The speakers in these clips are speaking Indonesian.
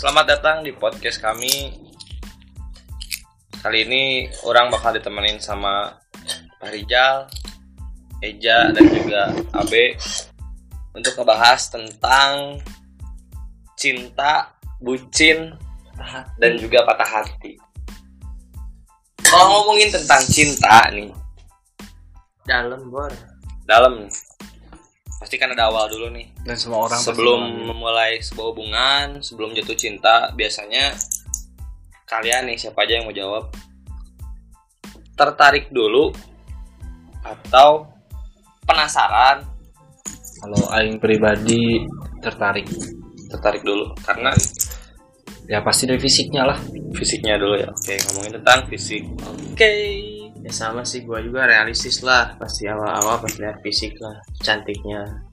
Selamat datang di podcast kami. Kali ini orang bakal ditemenin sama Pak Rijal, Eja dan juga Abe untuk ngebahas tentang cinta, bucin, dan juga patah hati. Kalau ngomongin tentang cinta nih, dalam bor dalam nih, pasti kan ada awal dulu nih. dan semua orang pasti sebelum mengalami. memulai sebuah hubungan, sebelum jatuh cinta, biasanya kalian nih siapa aja yang mau jawab tertarik dulu atau penasaran kalau aing pribadi tertarik tertarik dulu karena ya pasti dari fisiknya lah fisiknya dulu ya oke ngomongin tentang fisik oke ya sama sih gua juga realistis lah pasti awal-awal pas lihat fisik lah cantiknya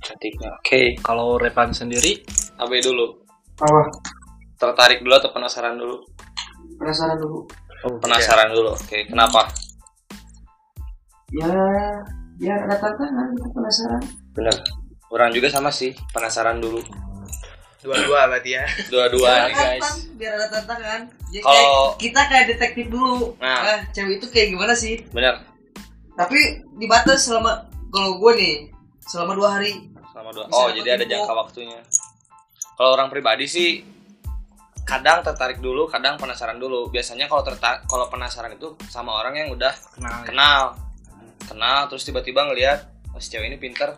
cantiknya oke kalau Repan sendiri abe dulu Apa? tertarik dulu atau penasaran dulu Penasaran dulu. Oh, penasaran dulu oke kenapa Ya, ya iya. ada tantangan, ada penasaran. bener orang juga sama sih penasaran dulu dua-dua berarti ya dua-dua nih guys Tantang, biar ada tantangan. Jadi Kalau- kayak kita kayak detektif dulu. Nah. Ah, cewek itu kayak gimana sih? bener Tapi dibatas selama kalau gue nih selama dua hari. selama dua Bisa oh dapat jadi ada info. jangka waktunya kalau orang pribadi sih kadang tertarik dulu kadang penasaran dulu biasanya kalau tertarik kalau penasaran itu sama orang yang udah kenal ya. kenal kenal terus tiba-tiba ngelihat oh, si cewek ini pinter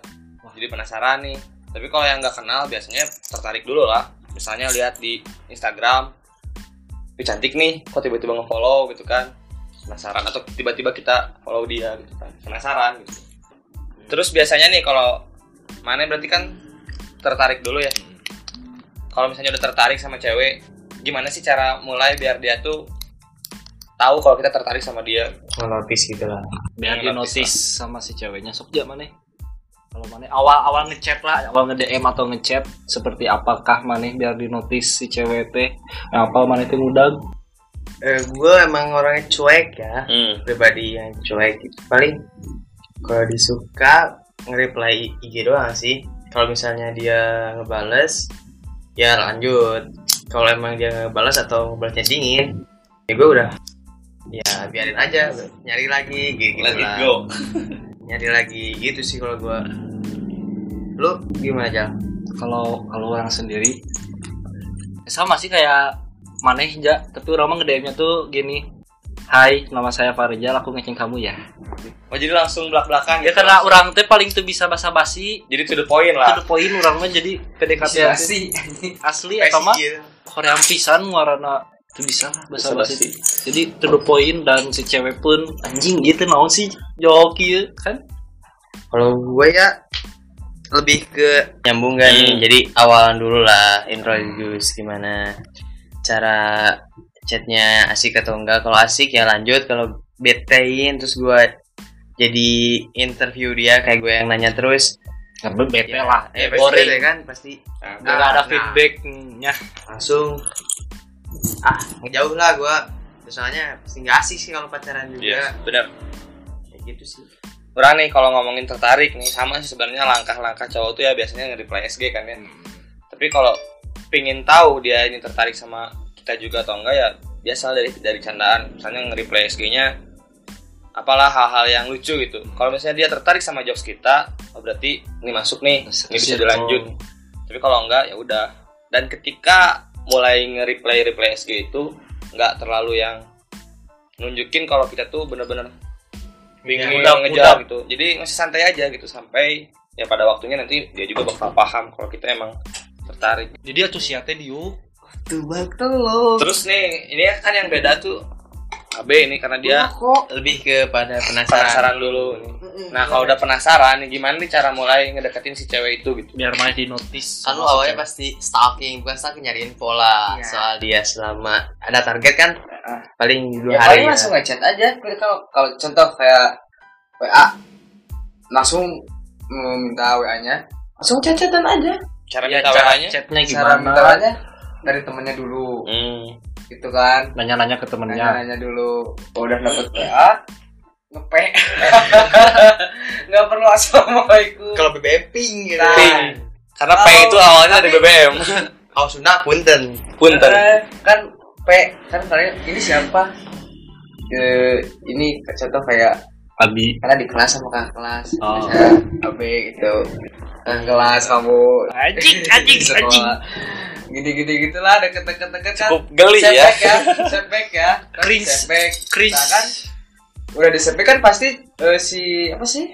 jadi penasaran nih tapi kalau yang nggak kenal biasanya tertarik dulu lah misalnya lihat di Instagram "Ih, cantik nih kok tiba-tiba ngefollow gitu kan penasaran atau tiba-tiba kita follow dia gitu kan penasaran gitu terus biasanya nih kalau mana berarti kan tertarik dulu ya kalau misalnya udah tertarik sama cewek gimana sih cara mulai biar dia tuh tahu kalau kita tertarik sama dia melotis gitu lah Yang biar di notice notice sama si ceweknya sok ja maneh kalau maneh awal-awal ngechat lah awal nge-DM atau ngechat seperti apakah maneh biar di notice si cewek teh Nah, apa maneh teh mudag eh, gua emang orangnya cuek ya Hmm. pribadi yang cuek gitu paling kalau disuka nge-reply IG doang sih kalau misalnya dia ngebales ya lanjut kalau emang dia ngebales atau ngebalasnya dingin ya gue udah ya biarin aja nyari lagi gitu, Let it lah. go. nyari lagi gitu sih kalau gue lu gimana aja kalau kalau orang sendiri sama sih kayak maneh ja tapi orang mah nge-DM-nya tuh gini Hai, nama saya Farijal, aku ngeceng kamu ya. Oh jadi langsung belak belakan. Ya karena orang teh paling tuh bisa basa-basi, jadi to the point itu lah. the point orang mah jadi PDKT asli, asli atau mah Korean pisan warna itu bisa lah bahasa Basa-basi. basi jadi to the point dan si cewek pun anjing gitu naon sih jawab kieu kan kalau gue ya lebih ke nyambung gak nih Hmm. jadi awalan dulu lah introduce gimana cara chatnya asik atau enggak kalau asik ya lanjut kalau betein terus gue jadi interview dia kayak gue yang nanya terus nggak bete Ya, lah ya, eh, pasti bete boring kan pasti nggak Nah, ada nah. feedbacknya langsung ah jauh lah gue Terus soalnya pasti nggak asik sih kalau pacaran Iya. juga benar. ya gitu sih Orang nih kalau ngomongin tertarik nih sama sih sebenarnya langkah-langkah cowok tuh ya biasanya nge-reply SG kan ya. Tapi kalau pingin tahu dia ini tertarik sama kita juga atau enggak ya biasa dari dari candaan misalnya nge-reply SG-nya apalah hal-hal yang lucu gitu. Kalau misalnya dia tertarik sama jokes kita, oh berarti ini masuk nih, ini bisa dilanjut. tapi kalau enggak ya udah dan ketika mulai nge-replay replay SG itu nggak terlalu yang nunjukin kalau kita tuh bener-bener bingung Ya, udah udah- ngejar gitu jadi masih santai aja gitu sampai ya pada waktunya nanti dia juga bakal paham kalau kita emang tertarik jadi atuh sia teh diu Tuh betul loh. terus nih ini kan yang beda tuh AB Iya, ini karena Iya dia kok. lebih kepada penasaran penasaran dulu nih. nah kalau udah penasaran gimana nih cara mulai ngedeketin si cewek itu gitu biar mana di notice Kan lu awalnya pasti stalking, bukan stalking nyariin pola Iya. soal dia selama ada target kan paling dua Ya hari. paling langsung Iya, ngechat aja. Kalau kalau contoh kayak WA langsung minta WA-nya langsung cacatan aja cara ya, minta cara WA-nya? chatnya cara gimana minta aja dari temennya dulu Hmm. gitu kan nanya-nanya ke temennya nanya-nanya dulu kalau udah dapet PA ngepe nggak perlu assalamualaikum BBM ping Nah, gitu. kan. Ping. karena P Kalau- itu awalnya dari tapi- BBM Oh Sunda punten. punten Eh, kan P kan kalian ini siapa Eh, ini contoh kayak Abi karena di kelas sama kakak kelas Oh. Misalnya AB gitu kakak kelas kamu Anjing, anjing, Sekolah. anjing. gini-gini gitulah deket deket deket kan cukup geli ya Setback ya setback ya kan Cringe. setback Cringe. Nah, kan udah di setback kan pasti eh, si apa sih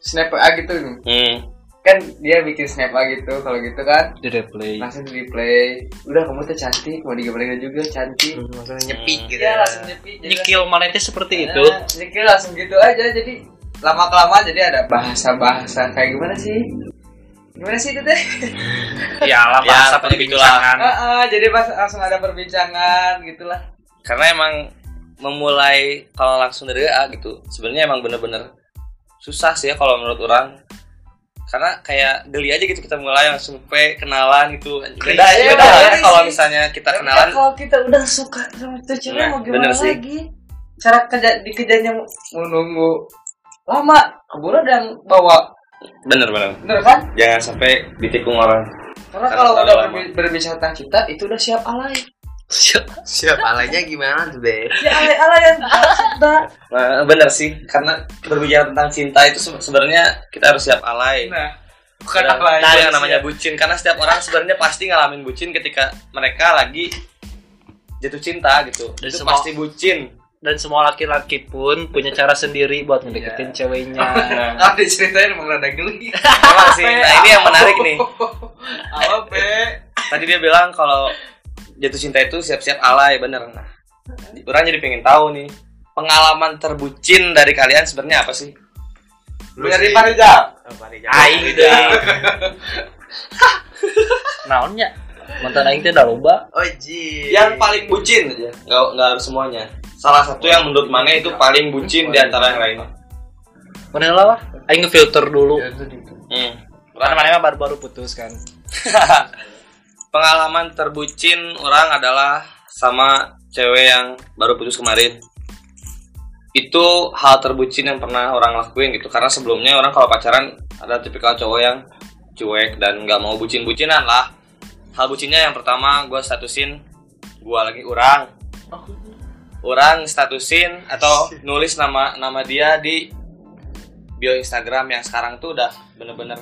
snap A gitu hmm. kan dia bikin snap A gitu kalau gitu kan di replay. Hmm. langsung di replay udah kamu tuh cantik mau digimana juga cantik Maksudnya nyepi Hmm. gitu. Iya langsung nyepi jadi- Nyekil manetnya seperti Nah, itu. nyekil langsung gitu aja jadi lama kelamaan jadi ada bahasa bahasa kayak gimana sih gimana sih itu teh Ya lah Ya, bahasa kayak gitulah. Kan. perbincangan. Ah, ah, jadi pas langsung ada perbincangan gitulah karena emang memulai kalau langsung dari A gitu sebenarnya emang bener-bener susah sih ya kalau menurut orang karena kayak geli aja gitu kita mulai langsung P kenalan gitu beda Iya, beda lah ya sih. kalau misalnya kita Tapi kenalan kan kalau kita udah suka sama itu cewek Nah, mau gimana bener sih. lagi cara kerja dikejarnya mau mau nunggu lama keburu dan bawa bener bener bener kan jangan sampai ditikung orang Karena karena kalau terlalu udah lama. berbi- berbicara tentang cinta itu udah siap alay Siap alanya gimana tuh, Be? ya alay alay yang cinta nah, bener sih karena berbicara tentang cinta itu se- sebenarnya kita harus siap alay nah bukan Karena iya nah, alay yang siap. ya. namanya bucin karena setiap orang sebenarnya pasti ngalamin bucin ketika mereka lagi jatuh cinta gitu Dan itu semua- pasti bucin Dan semua laki-laki pun punya cara sendiri Iya. buat ngedeketin ceweknya. Kalau diceritain emang rada geli. Emang sih. Nah, ini yang menarik nih. Apa, Be? Tadi dia bilang kalau jatuh cinta itu siap-siap alay, bener. Nah, orang jadi pengen tahu nih pengalaman terbucin dari kalian sebenarnya apa sih? Lu Dari sih. Parija. Oh, Parija. Aing deh. Naonnya? Mantan aing teh udah loba. Oh, ji. Ya. Yang paling bucin aja, nggak nggak harus semuanya. Salah satu yang menurut mana itu paling bucin di antara yang lainnya. Mana lah? Aing ngefilter dulu. Iya. Hmm. Karena mana mah baru-baru putus kan. pengalaman terbucin orang adalah sama cewek yang baru putus kemarin itu hal terbucin yang pernah orang lakuin gitu karena sebelumnya orang kalau pacaran ada tipikal cowok yang cuek dan nggak mau bucin-bucinan lah hal bucinnya yang pertama gue statusin gue lagi orang orang statusin atau nulis nama nama dia di bio Instagram yang sekarang tuh udah bener-bener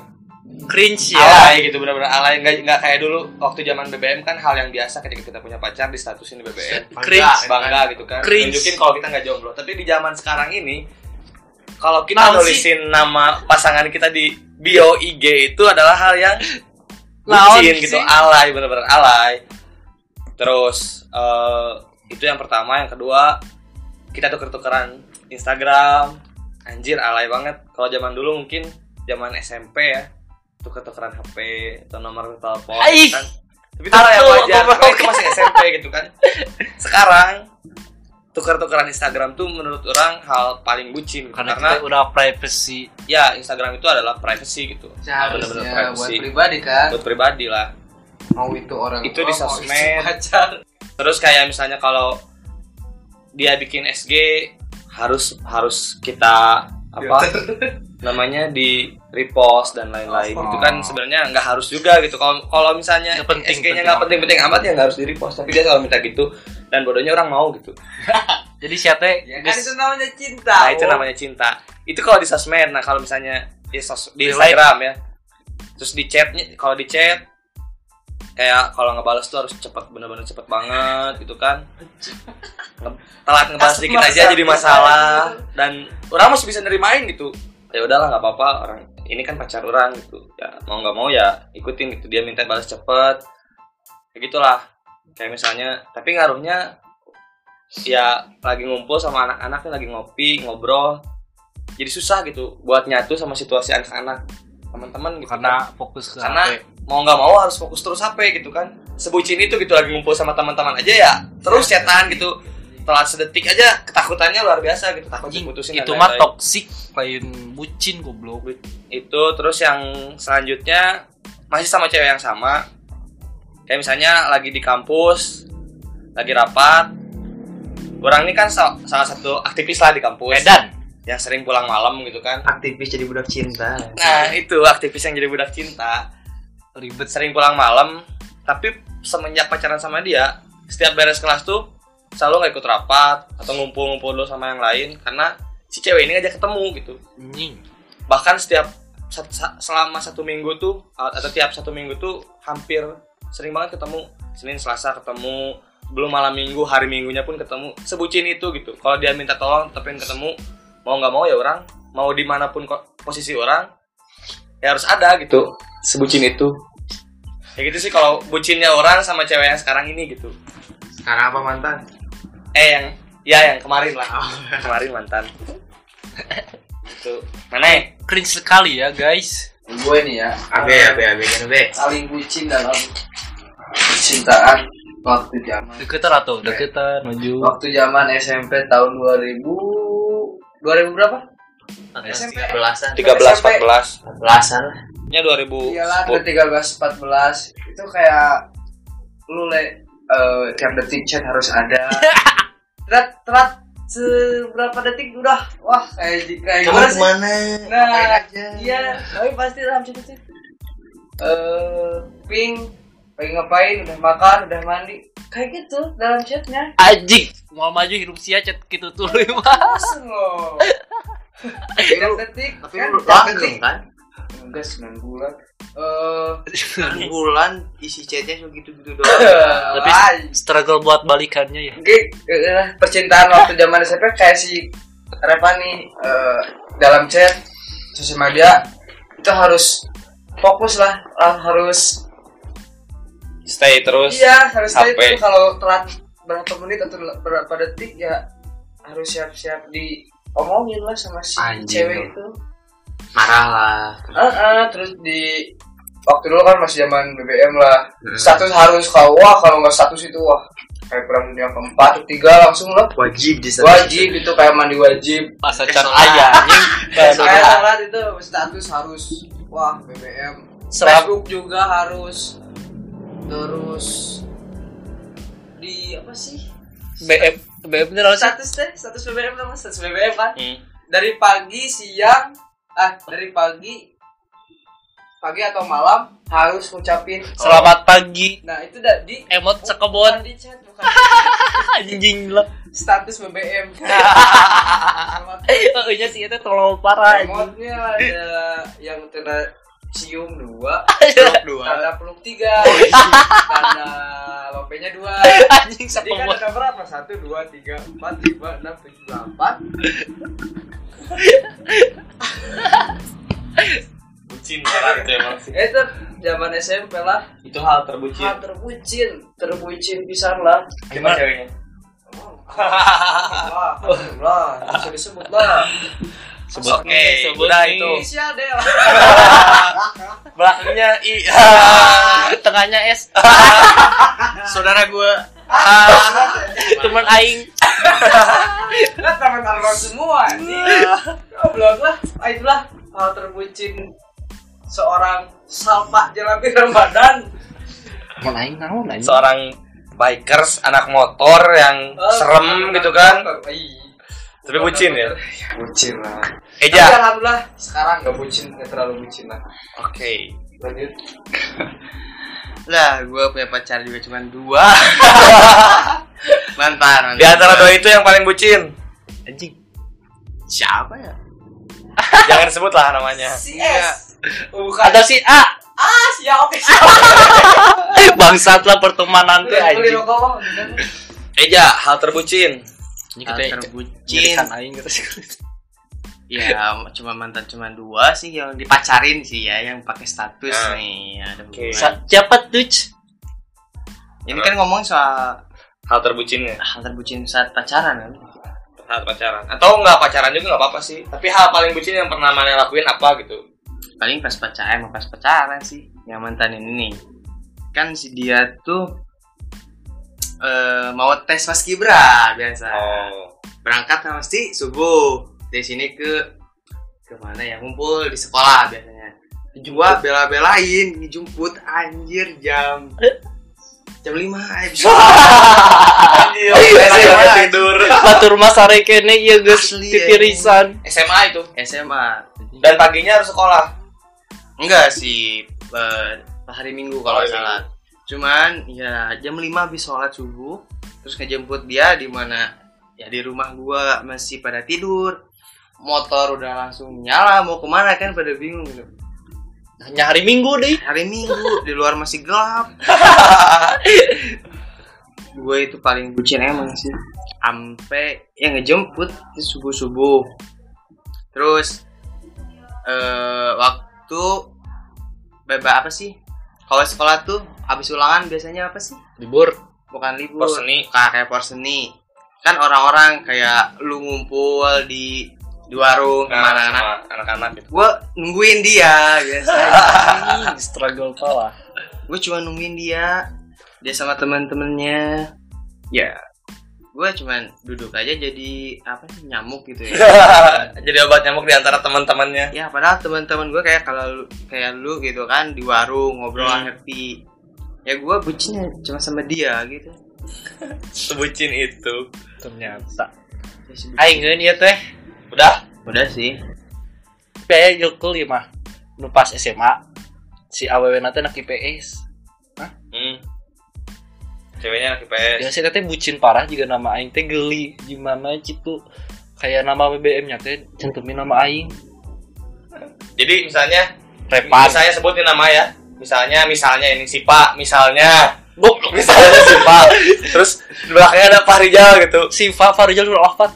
Cringe ya. alay gitu benar-benar alay nggak nggak kayak dulu waktu zaman BBM kan hal yang biasa ketika kita punya pacar di statusin di BBM Cringe. bangga gitu kan Cringe. tunjukin kalau kita nggak jomblo tapi di zaman sekarang ini kalau kita Naon sih? nulisin nama pasangan kita di bio IG itu adalah hal yang Naon bucin sih? gitu alay benar-benar alay terus eh, itu yang pertama yang kedua kita tuker-tukeran Instagram anjir alay banget kalau zaman dulu mungkin zaman SMP ya tuker-tukeran HP atau nomor telepon Aih. gitu kan tapi itu hal yang Aku- wajar aku- karena itu masih SMP gitu kan sekarang tuker-tukeran Instagram tuh menurut orang hal paling bucin gitu. Karena, karena, kita udah privacy. ya Instagram itu adalah privacy gitu Bener-bener Seharusnya buat privacy. pribadi kan. buat pribadi lah Mau itu orang Itu di tua, mau sosmed. itu pacar. terus kayak misalnya kalau dia bikin SG harus harus kita Ya apa kan? namanya di repost dan lain-lain itu kan sebenarnya nggak harus juga gitu kalau kalau misalnya Oh. Nggak penting, SG-nya penting nggak amat. penting-penting amat ya nggak harus di repost tapi dia selalu minta gitu dan bodohnya orang mau gitu Jadi siate Ya kan itu namanya cinta. nah itu Om. namanya cinta itu kalau di sosmed nah kalau misalnya di, sos- di Di Instagram ya terus di chatnya kalau di chat kayak kalau ngebales tuh harus cepet bener-bener cepet banget gitu kan Nge- telat ngebales Asal dikit aja masalah. jadi masalah dan orang masih bisa nerimain gitu ya udahlah nggak apa-apa orang ini kan pacar orang gitu ya mau nggak mau ya ikutin gitu dia minta balas cepet kayak gitulah kayak misalnya tapi ngaruhnya ya lagi ngumpul sama anak-anaknya lagi ngopi ngobrol jadi susah gitu buat nyatu sama situasi anak-anak teman-teman gitu kan. karena fokus ke Karena- HP. mau nggak mau harus fokus terus HP gitu kan sebucin itu gitu lagi ngumpul sama teman-teman aja ya terus cetan gitu telat sedetik aja ketakutannya luar biasa gitu takut Anjing, diputusin dan itu mah lain-lain. toksik lain bucin goblok. itu terus yang selanjutnya masih sama cewek yang sama kayak misalnya lagi di kampus lagi rapat orang ini kan sa- salah satu aktivis lah di kampus Medan. yang sering pulang malam gitu kan Aktivis jadi budak cinta. nah itu aktivis yang jadi budak cinta ribet sering pulang malam tapi semenjak pacaran sama dia setiap beres kelas tuh selalu nggak ikut rapat atau ngumpul-ngumpul dulu sama yang lain karena si cewek ini ngajak ketemu gitu anjing bahkan setiap sa- sa- selama satu minggu tuh a- atau tiap satu minggu tuh hampir sering banget ketemu Senin Selasa ketemu belum malam minggu hari minggunya pun ketemu sebucin itu gitu kalau dia minta tolong tapi ketemu mau nggak mau ya orang mau dimanapun ko- posisi orang ya harus ada gitu sebucin itu ya gitu sih kalau bucinnya orang sama cewek yang sekarang ini gitu Sekarang apa mantan? Oh. eh yang ya yang kemarin lah kemarin mantan itu mana ya? cringe sekali ya guys gue nih ya AB, AB, AB, kan AB. paling bucin dalam cintaan waktu zaman deketan atau deketan maju waktu zaman SMP tahun 2000 2000 berapa? Eh, SMP. Tiga belasan. 13 SMP. 14 Belasan lah. nya 2000 Iyalah ke 13 14 itu kayak lu le eh, tiap detik chat harus ada. telat telat seberapa detik udah wah kayak j- kayak Kamu gimana sih? kemana? Nah, Ngapain aja? Iya, tapi pasti dalam chat itu. Eh, ping pengen ngapain udah makan udah mandi kayak gitu dalam chatnya anjing mau maju hidup sia chat gitu tuh lu mah bosen loh tiap detik Tapi kan lu tiap langgeng detik kan? enggak 9 bulan eh Hmm. Enam bulan isi chatnya cuma gitu-gitu doang. Tapi- ay. struggle buat balikannya Iya. ya Mungkin eh, percintaan waktu zaman SMP kayak si Reva nih eh, dalam chat sosial media itu harus fokus lah lah harus stay terus iya harus kayak sampai- itu kalau telat berapa menit atau berapa detik ya harus siap-siap diomongin lah sama si Anjing cewek dong. itu Marah lah. Ah, ah, terus di waktu dulu kan masih zaman BBM lah Hmm. status harus kalau wah kalau nggak status itu wah kayak perang dunia keempat ketiga langsung lah Wajib di wajib itu kayak mandi wajib masa Eh, cat sholat. ayah anjing. kayak salat itu status harus wah BBM Serap. Facebook juga harus terus di apa sih BM BM itu harus status deh status BBM dong status BBM kan Hmm. dari pagi siang ah dari pagi pagi atau malam harus ngucapin selamat pagi nah itu udah di emot bukan sekebon di chat bukan anjing lah status BBM Selamat Ehnya sih itu terlalu parah anjing. Emotnya ada yang kena cium dua, dua. tanda peluk tiga, tanda lopenya dua. anjing Jadi sekebon kan ada berapa? Satu, dua, tiga, empat, lima, enam, tujuh, delapan. bucin parah itu emang sih Eh, Itu zaman SMP lah. itu hal terbucin Hal terbucin, terbucin pisan lah. gimana ceweknya Wah, lah, bisa disebut lah. sebut Oke, nih, sebut udah nih. itu. Inisial deh lah. belakangnya i Ah, tengahnya S Saudara gua teman aing Lah tangan almarhum semua anjing. Goblok lah. Ah, itulah hal terbucin seorang salpa jalan di Ramadan. teman aing naon anjing seorang bikers anak motor yang Eh, serem gitu kan Ih. tapi bucin ya Bucin lah. Tapi Iya. Eja alhamdulillah sekarang nggak bucin, nggak terlalu bucin lah. oke Lanjut. lah gua punya pacar juga cuma dua mantan mantan. di antara dua itu yang paling bucin anjing siapa ya jangan sebut lah namanya Si Iya. S. Oh, Bukan. atau si A Ah, si A, oke. Si A. Eh, bangsat lah pertemanan tuh Udah beli anjing rokok Bang. Udah. Eja hal terbucin ini Hal kita terbucin jadikan aing gitu sih ya cuma mantan cuma dua sih yang dipacarin sih ya yang pakai status Ah. nih ada Oke. hubungan. siapa tuh ini kan ngomong soal hal terbucinnya hal terbucin saat pacaran kan saat pacaran atau nggak pacaran juga nggak apa-apa sih tapi hal paling bucin yang pernah mana lakuin apa gitu paling pas pacaran emang pas pacaran sih yang mantan ini nih kan si dia tuh eh, mau tes mas kibra biasa oh berangkat kan mesti subuh dari sini ke ke mana ya ngumpul di sekolah biasanya gua bela-belain dijemput anjir jam jam lima eh, abis Anjir, iya, saya tidur Satu rumah sare kene iya geus Asli, titirisan. SMA itu SMA dan paginya harus sekolah enggak sih eh, hari Minggu Hari kalau nggak salah. Cuman ya jam 5 habis sholat subuh, terus ngejemput dia di mana ya di rumah gua masih pada tidur. Motor udah langsung nyala mau kemana kan pada bingung gitu. Hanya hari Minggu deh. Hari Minggu di luar masih gelap. gue itu paling bucin emang sih. Ampe yang ngejemput itu subuh-subuh. Terus eh waktu beba apa sih? Kalau sekolah tuh habis ulangan biasanya apa sih? Libur. Bukan libur. Porseni Ka- kayak porseni. Kan orang-orang kayak lu ngumpul di di warung sama kemana-mana. Nah, anak-anak gitu. Gue nungguin dia biasanya. struggle pala gue cuma nungguin dia dia sama teman-temannya ya gue cuman duduk aja jadi apa sih, nyamuk gitu ya Jadi obat nyamuk di antara teman-temannya. ya padahal teman-teman gue kayak kalau lu- kayak lu gitu kan di warung ngobrol Hmm. happy ya gue bucinnya cuma sama dia gitu Sebucin itu. ternyata Ya, si bucin. Aing ngeun ieu teh. Udah. udah sih Piaya jukul ieu mah. Nu pas SMA si awewe na teh anak IPS. Hmm. Ceweknya anak IPS. Ya si teh bucin parah juga nama aing teh geli gimana gitu. Kayak nama BBM-nya teh cantumin nama aing. Jadi misalnya Repan. misalnya sebutin nama ya. Misalnya misalnya ini si Pak, misalnya Goblok. misalnya si Pak. Terus di belakangnya ada Pak Rijal gitu. Si Fa Farjal udah wafat.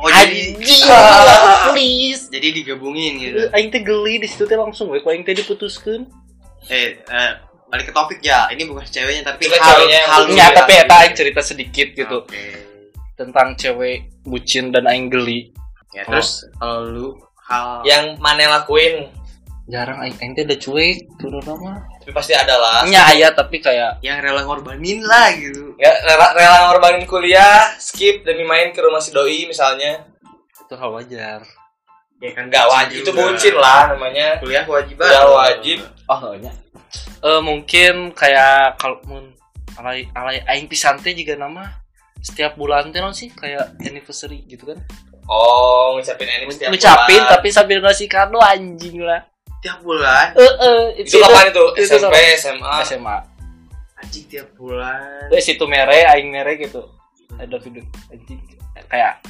oh jadi Ah. Anjing. Please. jadi digabungin Eh, gitu Aing teh geli di situ teh langsung we ku aing teh diputuskeun. eh eh, balik ke topik ya ini bukan ceweknya tapi Bukan hal kan ceweknya, hal Aduh, Ya, tapi ya eta aing cerita sedikit gitu Oke. tentang cewek bucin dan aing geli. ya terus kalau lu hal Yang mana lakuin? Jarang aing aing teh udah cuek turun nama. Tapi pasti ada lah. Nya aya tapi kayak yang rela ngorbanin lah gitu Ya, rela, rela ngorbanin kuliah, skip demi main ke rumah si doi misalnya. itu hal wajar. ya kan Enggak wajib, itu buncin lah namanya. kuliah kewajiban Kuliah wajib. Oh, nya. Eh mungkin kayak kalau mun alay alay aing pisan teh juga nama setiap bulan teh non sih kayak anniversary gitu kan. Oh, ngucapin ini setiap Ngucapin bulan. tapi sambil ngasih kado anjing lah. tiap bulan Heeh, itu kapan itu? itu Ah. SMP, sama. SMA. SMA. anjing tiap bulan Terus Eh, situ mere, aing mere gitu. Ada video anjing kayak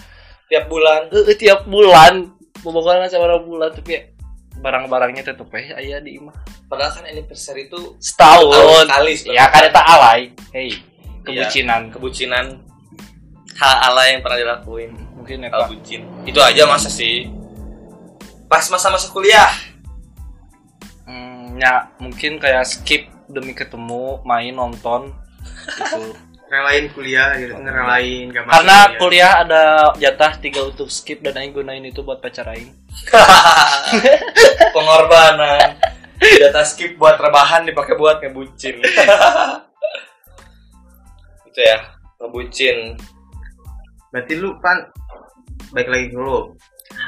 Tiap bulan. eh eh, tiap bulan pembangunan sama orang bulan tapi barang-barangnya tetep eh aya di imah. Padahal kan anniversary itu tahun Iya, Setahun. sekali. Ya kan eta alay. Iya. Hei, kebucinan. kebucinan hal ala yang pernah dilakuin Mungkin ya, hal eta. bucin itu aja masa sih pas masa-masa kuliah Hmm, ya mungkin kayak skip demi ketemu, main nonton gitu. relain kuliah gitu ngerelain gak masuk Karena kuliah ada jatah tiga untuk skip dan aing gunain itu buat pacar aing. pengorbanan data skip buat rebahan dipakai buat ngebucin itu ya ngebucin berarti lu pan baik lagi dulu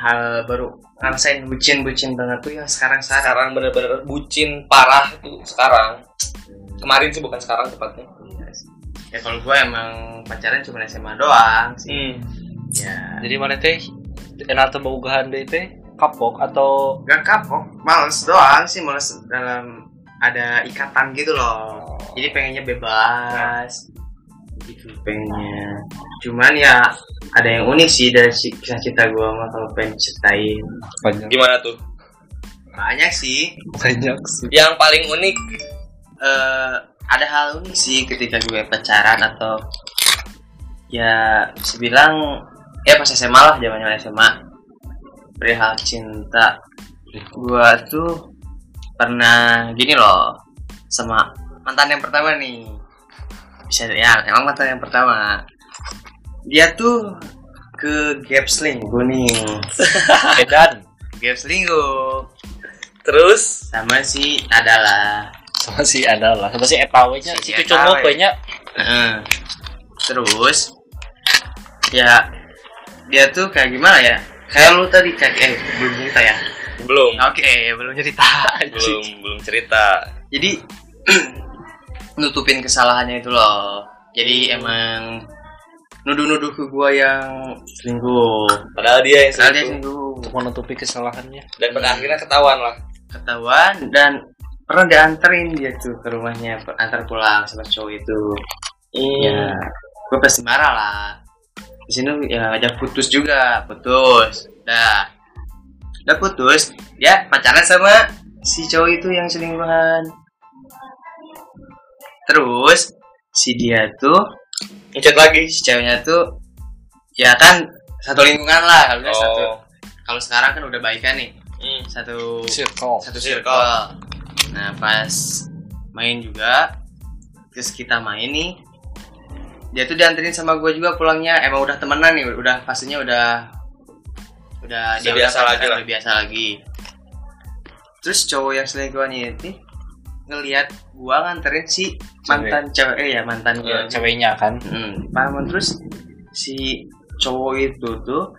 hal baru ngerasain bucin bucin banget tuh yang sekarang sekarang sekarang bener-bener bucin parah itu sekarang kemarin sih bukan sekarang tepatnya ya kalau gue emang pacaran cuma SMA doang sih ya Jadi mana teh enak teu bobogohan deui teh kapok atau gak kapok males doang sih males dalam ada ikatan gitu loh jadi pengennya bebas gitu pengennya cuman ya ada yang unik sih dari si- kisah cinta gue mah kalau pengen ceritain banyak gimana tuh banyak sih banyak sih. yang paling unik Eh, ada hal unik sih ketika gue pacaran atau ya bisa bilang ya pas SMA lah zamannya SMA perihal cinta gue tuh pernah gini loh sama mantan yang pertama nih bisa ya emang mantan yang pertama dia tuih ke Gapsling gue nih Edan Gapsling gue terus sama si adalah sama si adalah sama si etawenya si Si cucungo Etawe. banyak Heeh. Terus ya dia tuh kayak gimana ya? Kayak lu tadi kayak eh belum cerita ya? belum Oke, belum cerita. belum belum cerita Jadi nutupin kesalahannya itu loh. Jadi emang nuduh-nuduh ke gua yang selingkuh. padahal dia yang Padahal dia selingkuh. selingkuh. untuk menutupi kesalahannya dan pada akhirnya ketahuan lah Ketahuan dan pernah dianterin dia tuh ke rumahnya per- antar pulang sama cowok itu ya gue pasti marah lah di sini ya ngajak putus juga putus dah udah putus ya pacaran sama si cowok itu yang selingkuhan terus si dia tuh ngechat lagi si ceweknya tuh ya kan satu lingkungan lah kalau nggak satu Oh. kalau sekarang kan udah baikan nih Hmm. satu circle satu circle nah pas main juga terus kita main nih dia tuh dianterin sama gue juga pulangnya emang udah temenan nih udah pastinya udah udah Udah dia biasa udah lagi lah. udah biasa lagi terus cowok yang selingkuhannya itu ngelihat gua nganterin si mantan cewek eh, ya mantan gue Iya, ceweknya kan Hmm, paham terus si cowok itu tuh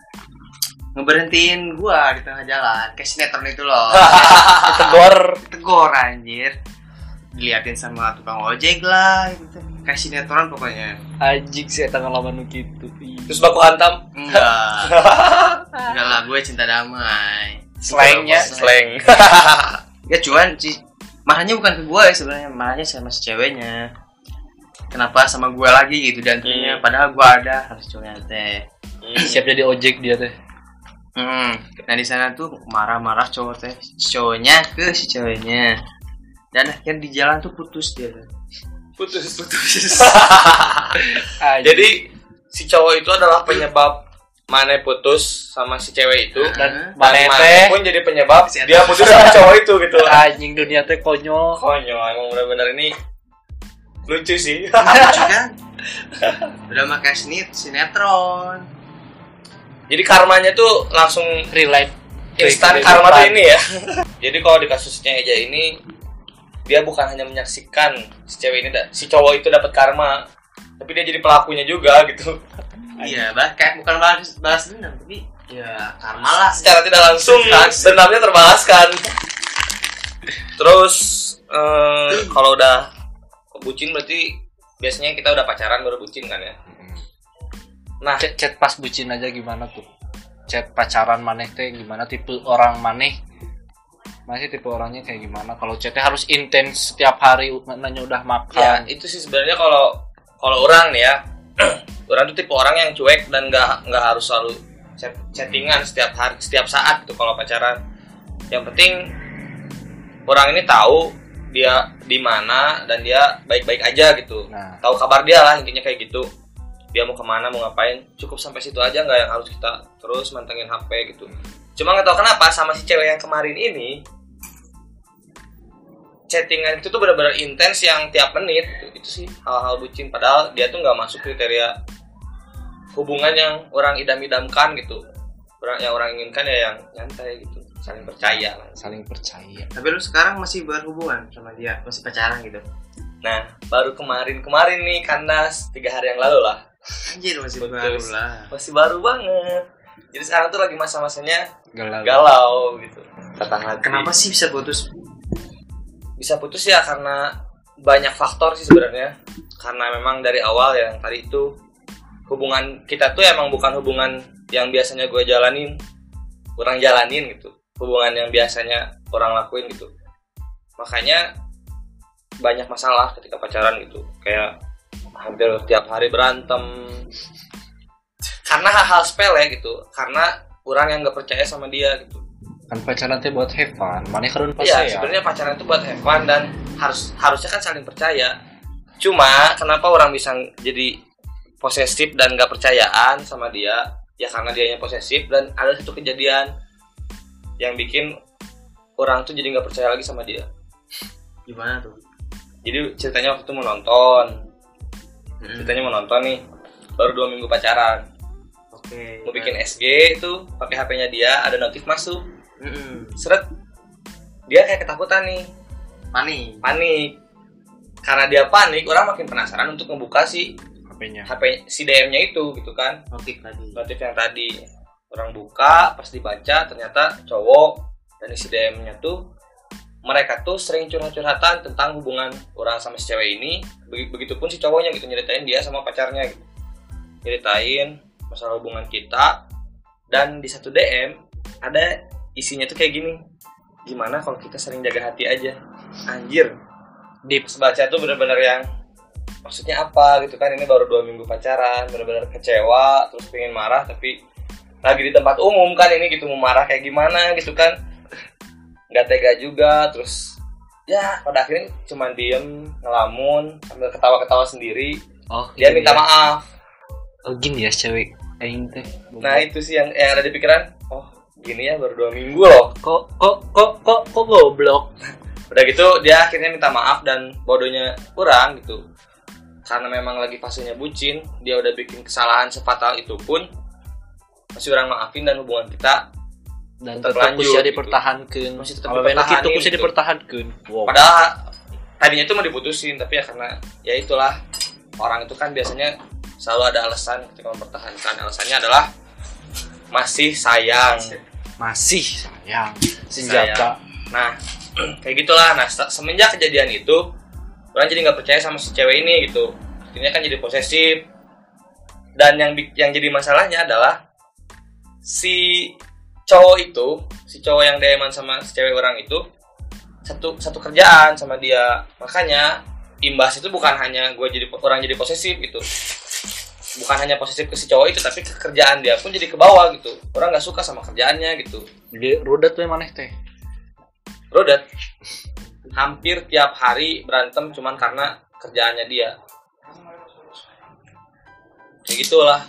ngeberhentiin gua di tengah jalan kayak sinetron itu loh Tegor. tegor anjir diliatin sama tukang ojek lah gitu kayak sinetron pokoknya ajik sih eta ngalaman gitu Terus baku hantam enggak enggak lah gue cinta damai Gitu Slangnya. slang. ya cuman si marahnya bukan ke gue sebenarnya marahnya sama si ceweknya kenapa sama gue lagi gitu dan Hmm. padahal gue ada harus cowoknya teh Siap jadi ojek dia teh. Hmm. Nah di sana tuh marah-marah cowok teh si cowoknya ke si ceweknya dan akhirnya di jalan tuh putus dia. putus putus. Jadi si cowok itu adalah penyebab Mane putus sama si cewek itu Dan dan Mane Nah, Mane teh. pun jadi penyebab Si Eta. dia putus sama cowok itu gitu. Anjing dunia teh konyol. Konyol emang benar-benar ini lucu sih. juga udah makai sinit sinetron. Jadi karmanya tuh langsung Relate. instan Relate. karma tuh ini ya. Jadi kalau di kasusnya Eja ini dia bukan hanya menyaksikan si cewek ini da- si cowok itu dapat karma, tapi dia jadi pelakunya juga gitu. Iya bahkan bukan balas balas dendam tapi ya karma lah. Secara tidak langsung kan, dendamnya terbalaskan. Terus eh, kalau udah bucin berarti biasanya kita udah pacaran baru bucin kan ya. Nah, Chat, chat pas bucin aja gimana tuh? Chat pacaran maneh teh gimana tipe orang maneh? Masih tipe orangnya kayak gimana? Kalau chatnya harus intens setiap hari u- nanya udah ya makan. itu sih sebenarnya kalau kalau orang nih ya orang tuh tipe orang yang cuek dan nggak nggak harus selalu chat- chattingan setiap hari setiap saat tuh kalau pacaran yang penting orang ini tahu dia di mana dan dia baik-baik aja gitu Nah, tahu kabar dia lah intinya kayak gitu dia mau kemana mau ngapain cukup sampai situ aja nggak yang harus kita terus mantengin HP gitu cuma nggak tahu kenapa sama si cewek yang kemarin ini chattingan itu tuh benar-benar intens yang tiap menit itu sih hal-hal bucin padahal dia tuh nggak masuk kriteria hubungan yang orang idam-idamkan gitu orang yang orang inginkan ya yang nyantai gitu saling percaya lah. saling percaya. Tapi lu sekarang masih berhubungan sama dia masih pacaran gitu. nah baru kemarin kemarin nih kandas tiga hari yang lalu lah Anjir masih Putus. baru lah. masih baru banget jadi sekarang tuh lagi masa-masanya Galau. galau gitu patah hati Kenapa sih bisa putus? bisa putus ya karena banyak faktor sih sebenarnya karena memang dari awal yang tadi itu hubungan kita tuh emang bukan hubungan yang biasanya gue jalanin kurang jalanin gitu hubungan yang biasanya orang lakuin gitu makanya banyak masalah ketika pacaran gitu kayak hampir tiap hari berantem karena hal-hal sepele gitu karena orang yang nggak percaya sama dia gitu Kan pacaran teh buat have fun. Maneh kadun pas Iya, ya. sebenarnya pacaran itu buat have fun dan harus harusnya kan saling percaya. Cuma kenapa orang bisa jadi posesif dan gak percayaan sama dia? Ya karena dianya posesif dan ada satu kejadian yang bikin orang tuh jadi nggak percaya lagi sama dia. Gimana tuh? Jadi ceritanya waktu itu mau nonton, Mm-mm. ceritanya mau nonton nih, baru dua minggu pacaran, Oke. mau bikin SG itu pakai HP-nya dia, ada notif masuk, Mm-mm. seret, dia kayak ketakutan nih, Panik. panik karena dia panik orang makin penasaran untuk membuka si HP-nya. HP si DM-nya itu gitu kan Notif tadi. notif yang tadi orang buka pas dibaca ternyata cowok dan isi DM-nya tuh mereka tuh sering curhat-curhatan tentang hubungan orang sama si cewek ini Begi- begitupun si cowoknya gitu nyeritain dia sama pacarnya gitu nyeritain masalah hubungan kita dan di satu DM ada isinya tuh kayak gini gimana kalau kita sering jaga hati aja anjir Deep. baca tuh bener-bener yang maksudnya apa gitu kan ini baru dua minggu pacaran bener-bener kecewa terus pengen marah tapi lagi di tempat umum kan ini gitu mau marah kayak gimana gitu kan nggak tega juga terus ya pada akhirnya cuman diem ngelamun sambil ketawa-ketawa sendiri Oh, dia gini minta ya. maaf Oh, gini ya cewek. Aing teh. Nah itu sih yang, yang ada di pikiran. Oh gini ya baru dua minggu loh. kok kok kok kok kok goblok. Udah gitu dia akhirnya minta maaf dan bodohnya kurang gitu. Karena memang lagi fasenya bucin, dia udah bikin kesalahan sefatal itu pun masih orang maafin dan hubungan kita. Dan Tetep tetap lanjut, bisa gitu. dipertahankan. Masih tetep Kalau enak dipertahanin, itu bisa gitu. dipertahankan. Wow. Padahal tadinya itu mau diputusin tapi ya karena ya itulah orang itu kan biasanya selalu ada alasan ketika mempertahankan alasannya adalah masih sayang. Masih Ya. sayang senjata. Nah, kayak gitulah. Nah, se- semenjak kejadian itu, orang jadi nggak percaya sama si cewek ini gitu. Akhirnya kan jadi posesif. Dan yang bi- yang jadi masalahnya adalah si cowok itu, si cowok yang DM-an sama si cewek orang itu satu satu kerjaan sama dia. Makanya imbas itu bukan hanya gue jadi orang jadi posesif gitu bukan hanya posesif ke si cowok itu tapi ke kerjaan dia pun jadi ke bawah gitu orang nggak suka sama kerjaannya gitu Jadi rudet we maneh teh. Rodat hampir tiap hari berantem cuman karena kerjaannya dia ya gitulah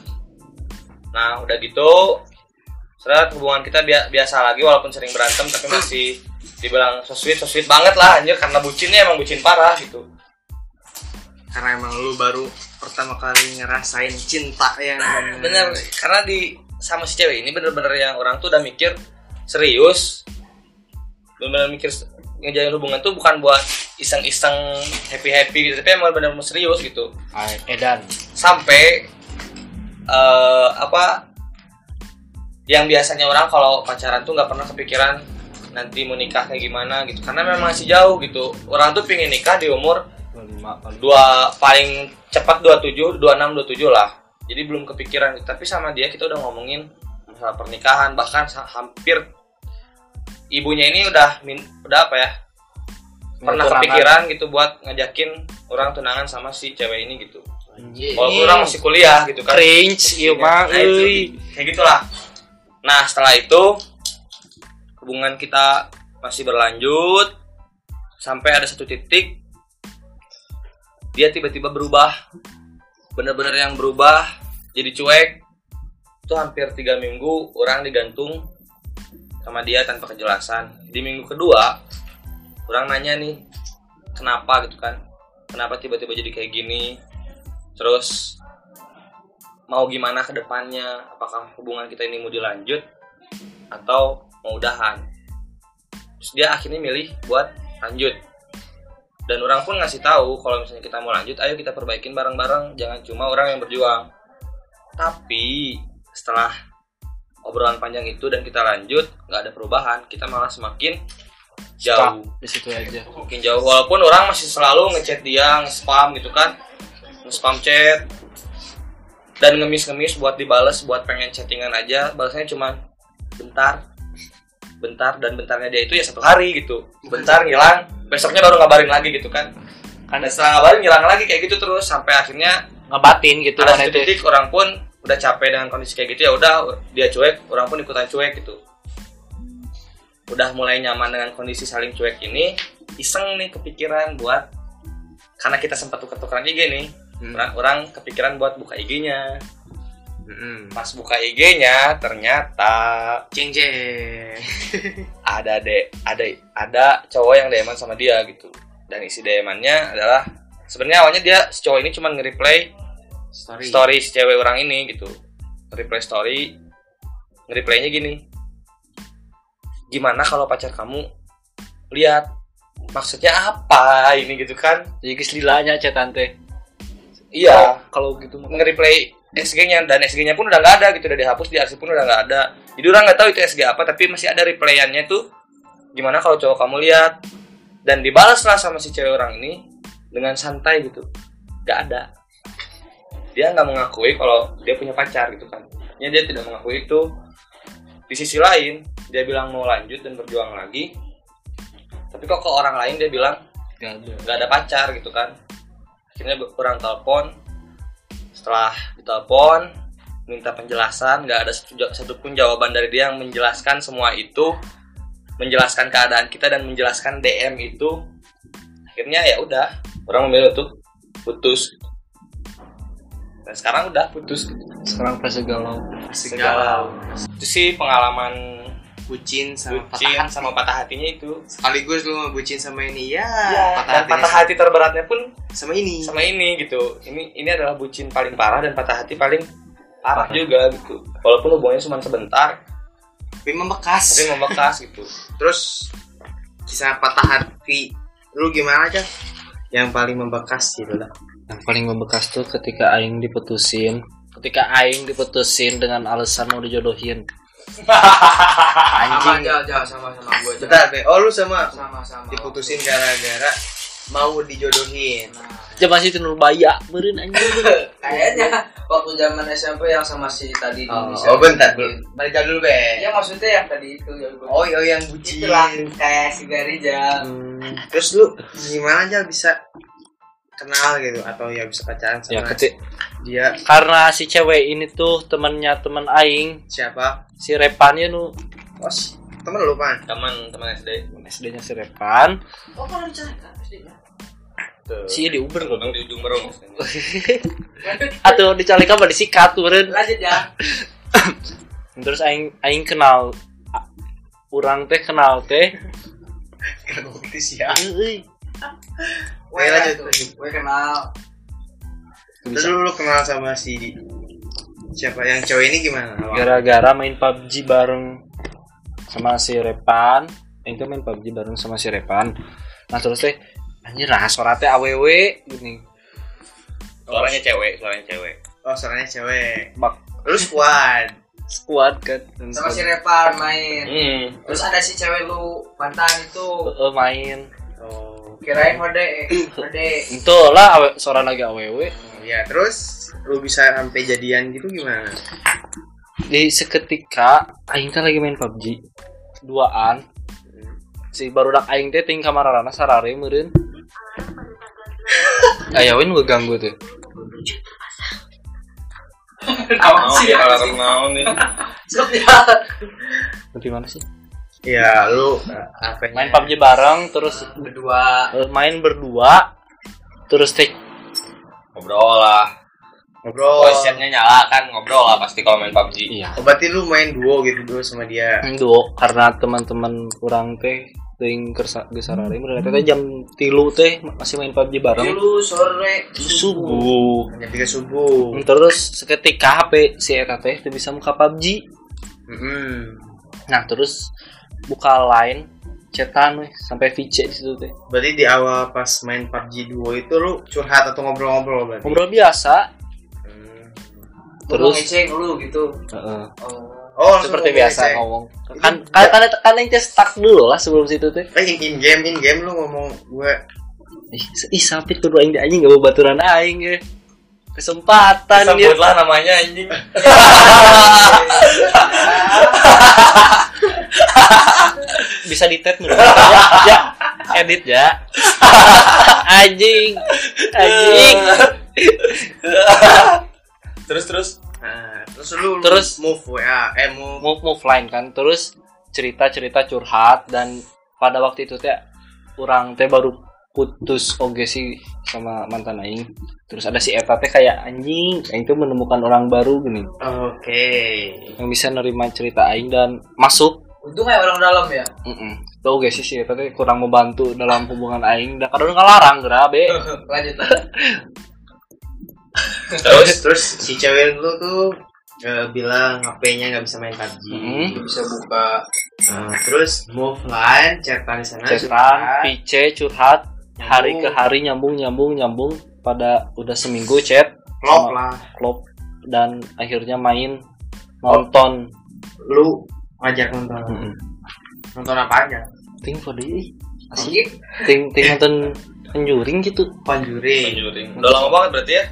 nah udah gitu seret hubungan kita bia- biasa lagi walaupun sering berantem tapi masih dibilang so sweet so sweet banget lah anjir karena bucinnya emang bucin parah gitu karena emang lu baru pertama kali ngerasain cinta yang Ah, Iya, bener karena di sama si cewek ini bener-bener yang orang tuh udah mikir serius bener-bener mikir se- ngejalin hubungan tuh bukan buat iseng-iseng happy-happy gitu tapi emang bener-bener serius gitu Ay, Edan. sampai eh, apa yang biasanya orang kalau pacaran tuh nggak pernah kepikiran nanti mau nikah kayak gimana gitu karena memang masih jauh gitu orang tuh pingin nikah di umur dua paling cepat 27 26 27 lah jadi belum kepikiran gitu. tapi sama dia kita udah ngomongin masalah pernikahan bahkan sa- hampir ibunya ini udah min- udah apa ya pernah Tunangan. kepikiran gitu buat ngajakin orang tunangan sama si cewek ini gitu Anjing. walaupun orang masih kuliah gitu kan cringe ieu mah Nah, itu, euy. kayak gitulah nah setelah itu hubungan kita masih berlanjut sampai ada satu titik dia tiba-tiba berubah bener-bener yang berubah jadi cuek itu hampir tiga minggu orang digantung sama dia tanpa kejelasan di minggu kedua orang nanya nih kenapa gitu kan kenapa tiba-tiba jadi kayak gini terus mau gimana ke depannya apakah hubungan kita ini mau dilanjut atau mau udahan terus dia akhirnya milih buat lanjut dan orang pun ngasih tahu kalau misalnya kita mau lanjut ayo kita perbaikin bareng-bareng jangan cuma orang yang berjuang tapi setelah obrolan panjang itu dan kita lanjut nggak ada perubahan kita malah semakin jauh Di situ aja. makin jauh walaupun orang masih selalu ngechat dia nge-spam gitu kan nge-spam chat dan ngemis-ngemis buat dibales buat pengen chattingan aja balasnya cuman bentar bentar dan bentarnya dia itu ya satu hari gitu bentar ngilang besoknya baru ngabarin lagi gitu kan Kan dan setelah ngabarin ngilang lagi kayak gitu terus sampai akhirnya ngebatin gitu ada mana satu itu. titik orang pun udah capek dengan kondisi kayak gitu ya udah dia cuek orang pun ikutan cuek gitu udah mulai nyaman dengan kondisi saling cuek ini iseng nih kepikiran buat karena kita sempat tuker-tukeran IG nih Hmm. orang, orang kepikiran buat buka IG-nya pas buka IG-nya ternyata jeng jeng ada de ada ada cowok yang DM-an sama dia gitu dan isi DM-annya adalah sebenarnya awalnya dia si cowok ini cuma nge-reply story, story si cewek orang ini gitu reply story replaynya gini gimana kalau pacar kamu lihat maksudnya apa ini gitu kan Jadi geus lilanya cetan teh. iya Kalau gitu mah nge-replay SG-nya dan SG-nya pun udah nggak ada gitu udah dihapus di arsip pun udah nggak ada jadi orang nggak tahu itu SG apa tapi masih ada replayannya tuh gimana kalau cowok kamu lihat dan dibalaslah sama si cewek orang ini dengan santai gitu nggak ada dia nggak mengakui kalau dia punya pacar gitu kan ya dia tidak mengakui itu di sisi lain dia bilang mau lanjut dan berjuang lagi tapi tapi kok ke orang lain dia bilang Gak ada. nggak ada pacar gitu kan akhirnya be- orang telepon setelah ditelepon minta penjelasan nggak ada satu- satupun jawaban dari dia yang menjelaskan semua itu menjelaskan keadaan kita dan menjelaskan DM itu akhirnya ya udah orang memilih untuk putus dan sekarang udah putus gitu. Sekarang fase galau. segala itu sih pengalaman bucin sama bucin sama patah hatinya itu sekaligus lu mau bucin sama ini ya, Iya, dan patah hati terberatnya pun sama ini sama ini gitu ini ini adalah bucin paling parah dan patah hati paling parah juga gitu walaupun hubungannya cuma sebentar tapi membekas tapi membekas gitu terus kisah patah hati lu gimana aja yang paling membekas gitu lah Yang paling membekas tuh ketika Aing diputusin. Ketika Aing diputusin dengan alasan mau dijodohin. sama Anjing. jauh jauh sama sama gue bentar deh oh lu sama sama sama diputusin gara-gara mau dijodohin Coba sih tenul baya, meureun anjing. kayaknya waktu zaman SMP yang sama si tadi oh, di- oh bentar dulu balik dulu be ya maksudnya yang tadi itu ya gue oh, oh yang bucin itulah kayak si Garijal Hmm, terus lu gimana aja bisa kenal gitu atau ya bisa pacaran sama Ya ketik. dia Karena si cewek ini tuh temannya teman Aing, siapa si Repan ya nu bos temen lu pan teman teman SD SD-nya si Repan, oh kalau diceritakan pasti ya Tuh. si di Uber Abang di ujung berung maksudnya. atau dicalika mah disikat meureun. lanjut ya Terus aing aing kenal a- urang teh kenal teh. Kritis ya Euy, gue Oke, lanjut, tuh. lanjut. gue kenal terus lu, lu kenal sama si siapa yang cewek ini gimana awal? gara-gara main PUBG bareng sama si Repan yang tuh main PUBG bareng sama si Repan nah terus teh anjir nah suara teh aww gini suaranya cewek suaranya cewek oh soalnya cewek bak lu squad squad kan Dan sama si squad. Repan main hmm. terus ada si cewek lu mantan itu Heeh, eh, main oh kirain mode mode itu lah awe- suara lagi aww ya terus lu bisa sampai jadian gitu gimana di seketika Aing kan lagi main PUBG duaan si barudak Aing teh ting kamar rana sarare meureun ayawin gue ganggu tuh mau dia kalau kamu mau nih sok ya nanti mana sih ya lu apa main PUBG bareng terus berdua Eh, main berdua terus teh ngobrol lah ngobrol oh chatnya nyala kan ngobrol lah padi kalau main PUBG iya Oh, berarti lu main duo gitu dulu sama dia duo karena teman-teman kurang teh ting kersa gesarari mereka teh jam tilu teh masih main PUBG bareng dulu sore subuh jam tiga subuh terus seketika HP si Eta teh teu bisa muka PUBG Mm-mm. nah terus buka line cetan weh sampai VC di situ teh berarti di awal pas main PUBG duo itu lu curhat atau ngobrol-ngobrol berarti ngobrol biasa Hmm. terus terus ngecek lu gitu Heeh. oh oh langsung seperti ngobrol, Ceng. biasa ngomong kan kan kan, kan yang teh stuck dulu lah sebelum situ teh Eh, in, in game in game lu ngomong gue Ih, ih sapit kudu aing aing gak baturan aing ya. Kesempatan ya. sebutlah namanya anjing Bisa ditet menurut ya. ya. Edit ya. anjing. Anjing. terus terus ah, terus lu lu Terus- move WA eh move move move line kan terus cerita-cerita curhat dan pada waktu itu teh orang teh baru putus oge sih sama mantan aing. Terus ada si Eta teh kayak anjing, aing tuh menemukan orang baru gini oke yang bisa nerima cerita aing dan masuk untung kayak orang dalam ya Mm Tau gak sih sih, tapi kurang membantu dalam hubungan aing. Da kadang ngelarang geura be. lanjut lanjut terus terus si cewek lu tuh eh, bilang HP-nya nggak bisa main PUBG Mm. nggak bisa buka Eh, terus move line chatan di sana Cetan, curhat. pice, curhat, Nyambung. hari ke hari nyambung nyambung nyambung pada udah seminggu chat, klop sama- lah klop dan akhirnya main nonton. lu ngajak nonton Mm-mm. nonton apa aja Ting for the- asik ting ting nonton penjuring gitu. Conjuring Penjuring. udah lama banget berarti ya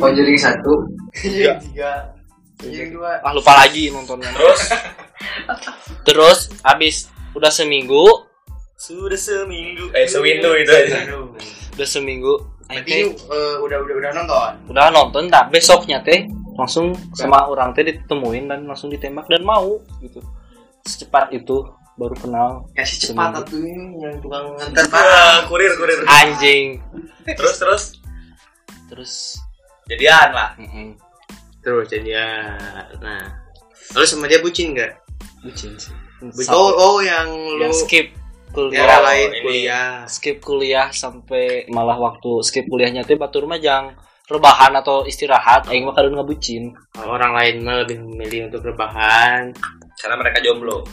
Conjuring satu Iya, tiga tiga Conjuring dua Ah lupa lagi nontonnya. terus Terus abis udah seminggu Sudah seminggu. Eh, sewindu itu. udah seminggu aing Berarti teh yuk, eh, udah udah udah nonton. udah nonton tak besoknya teh langsung sama orang teh ditemuin dan langsung ditembak dan mau gitu secepat itu baru kenal Kasih cepat Seminggu. tuh ini yang tukang nganter Wah, kurir, kurir. anjing Ah, Terus terus terus jadian lah. mm Terus jadi ya. Nah, lu sama dia bucin nggak? bucin sih Bucin. Sampai- Oh, oh yang lu yang skip Ya. yang kuliah lain ini. kuliah. skip kuliah sampai malah waktu skip kuliahnya teh batur mah jang rebahan atau istirahat aing mah kadang ngebucin Orang lain mah lebih memilih untuk rebahan. Karena mereka jomblo.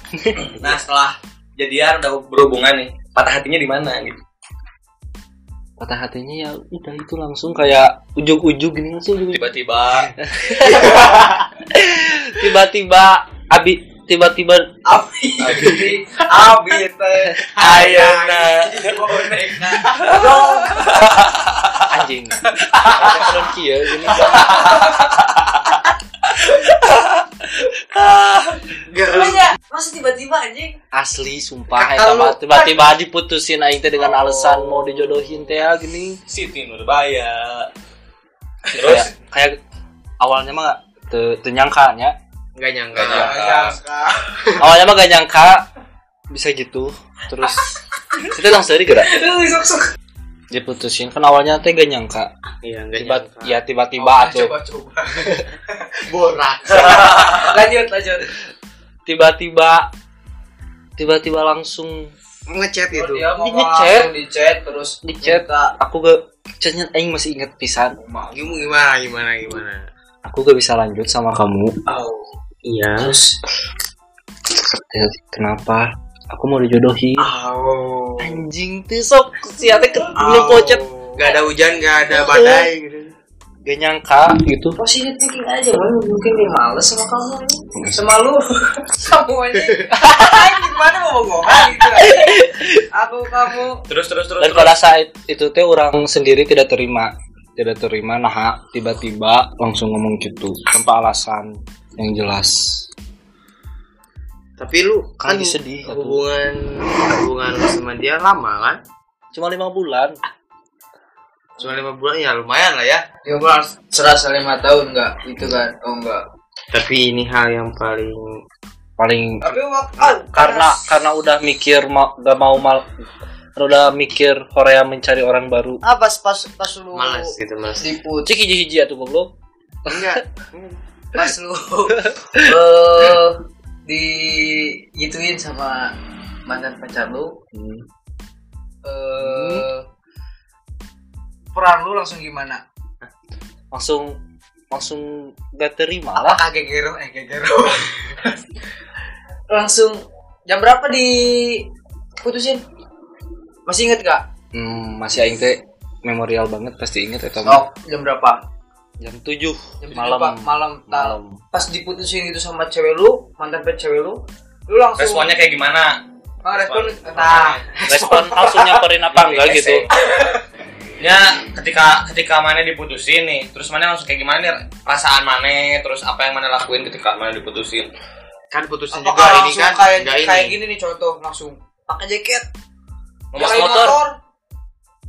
nah, setelah jadian udah berhubungan nih. Patah hatinya di mana gitu. patah hatinya ya udah itu langsung kayak ujung-ujung gini langsung gitu. ujug-ujug. Tiba-tiba tiba-tiba abi tiba-tiba ya? Abi, Abi teh. Ayana ah, anjing ada keren kia gini Gak. ya, Masa tiba-tiba anjing? asli sumpah Kata eta mah lu- tiba-tiba diputusin aing teh dengan alasan mau dijodohin teh ya, gini Siti Nurbaya. kayak Terus kayak awalnya mah te, te nyangka nya Enggak nyangka. Nggak Ya, nyangka. awalnya mah gak nyangka bisa gitu terus itu langsung dari gerak diputusin kan awalnya teh gak nyangka Iya, enggak tiba nyangka. ya Ah, tiba-tiba atuh Oh, coba. borak. Lanjut, lanjut. tiba-tiba tiba-tiba langsung Ngechat itu. Dia Iya, mau Di ngechat. di chat terus Di chat. minta- aku gak chatnya aing masih inget pisan Gimana gimana gimana gimana. aku gak bisa lanjut sama kamu Oh. Iya. Ya, kenapa aku mau dijodohin Oh. anjing tuh sok si ate ke belum pocet Gak ada hujan, gak ada badai gitu. gak nyangka gitu Positive thinking aja, Bang. mungkin dia males sama kamu, ya. sama lu, kamu aja. Gimana mau ngomong gitu? anjing? Aku kamu. terus terus terus. dan terus. pada saat itu teh orang sendiri tidak terima tidak terima nah tiba-tiba langsung ngomong gitu tanpa alasan yang jelas Tapi lu kan Lagi sedih aku. hubungan hubungan lu sama dia lama kan? cuma lima bulan Cuma lima bulan ya lumayan lah ya. Ya gua harus serasa lima tahun nggak itu kan? Oh enggak. Tapi ini hal yang paling paling Tapi waktu ah, karena karena udah mikir ma- gak mau mal udah mikir Korea mencari orang baru ah pas pas pas lu malas gitu mas. liput cik hiji hiji tuh goblok Enggak. pas lu eh di gituin sama mantan pacar lu eh peran lu langsung gimana? langsung langsung gak terima lah Apakah gegero eh gegero? langsung jam berapa di putusin? Masih inget gak? Hmm, masih aing teh memorial banget pasti inget eta mah. Oh, jam berapa? Jam 7 Jam tujuh, malam. Pak. malam malam. Malam. Pas diputusin itu sama cewek lu, mantan pacar cewek lu, lu langsung Responnya kayak gimana? Ah, respon nah Respon langsung nyamperin apa enggak gitu. Ya ketika ketika mana diputusin nih, terus mana langsung kayak gimana nih perasaan mana, terus apa yang mana lakuin ketika mana diputusin? Kan putusin apakah juga ini langsung kan. kayak gitu, Enggak ini. kayak gini nih contoh langsung pakai jaket Ngomong nyalain motor,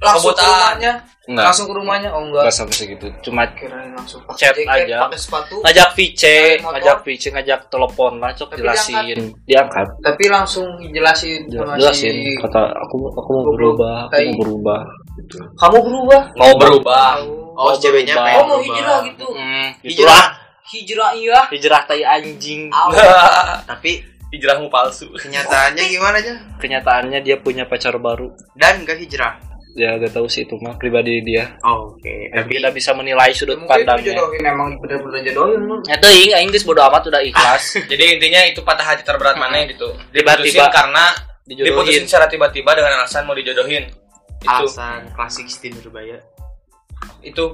langsung ke Kebutaan. rumahnya Enggak. langsung ke rumahnya oh enggak Enggak sampai segitu. gitu. Cuma kirain langsung pakai Chat jaket aja. pakai sepatu ngajak VC, Naik motor. ngajak VC, ngajak telepon lah, cok Tapi jelasin. Diangkat. tapi langsung jelasin sama Jelasin Oh, si- kata aku aku mau Goblok. berubah, aku Tai. mau berubah. gitu. kamu berubah mau berubah. oh, Oh, ceweknya berubah. pengen. mau berubah. hijrah gitu Hmm, Hijrah. hijrah, hijrah iya hijrah tai anjing. Tapi Hijrahmu palsu. kenyataannya gimana aja? Kenyataannya dia punya pacar baru. Dan gak hijrah. Ya gak tahu sih itu mah pribadi dia. Oke. Tapi Tapi tidak bisa menilai sudut mungkin itu pandangnya. gitu jodohin emang bener-bener jodohin lu Itu Eh, ing aing geus bodo amat udah ikhlas. Jadi intinya itu patah hati terberat mana gitu. Diputusin Tiba-tiba. karena Dijodohin. diputusin secara tiba-tiba dengan alasan mau dijodohin. Itu alasan klasik Siti Nurbaya. itu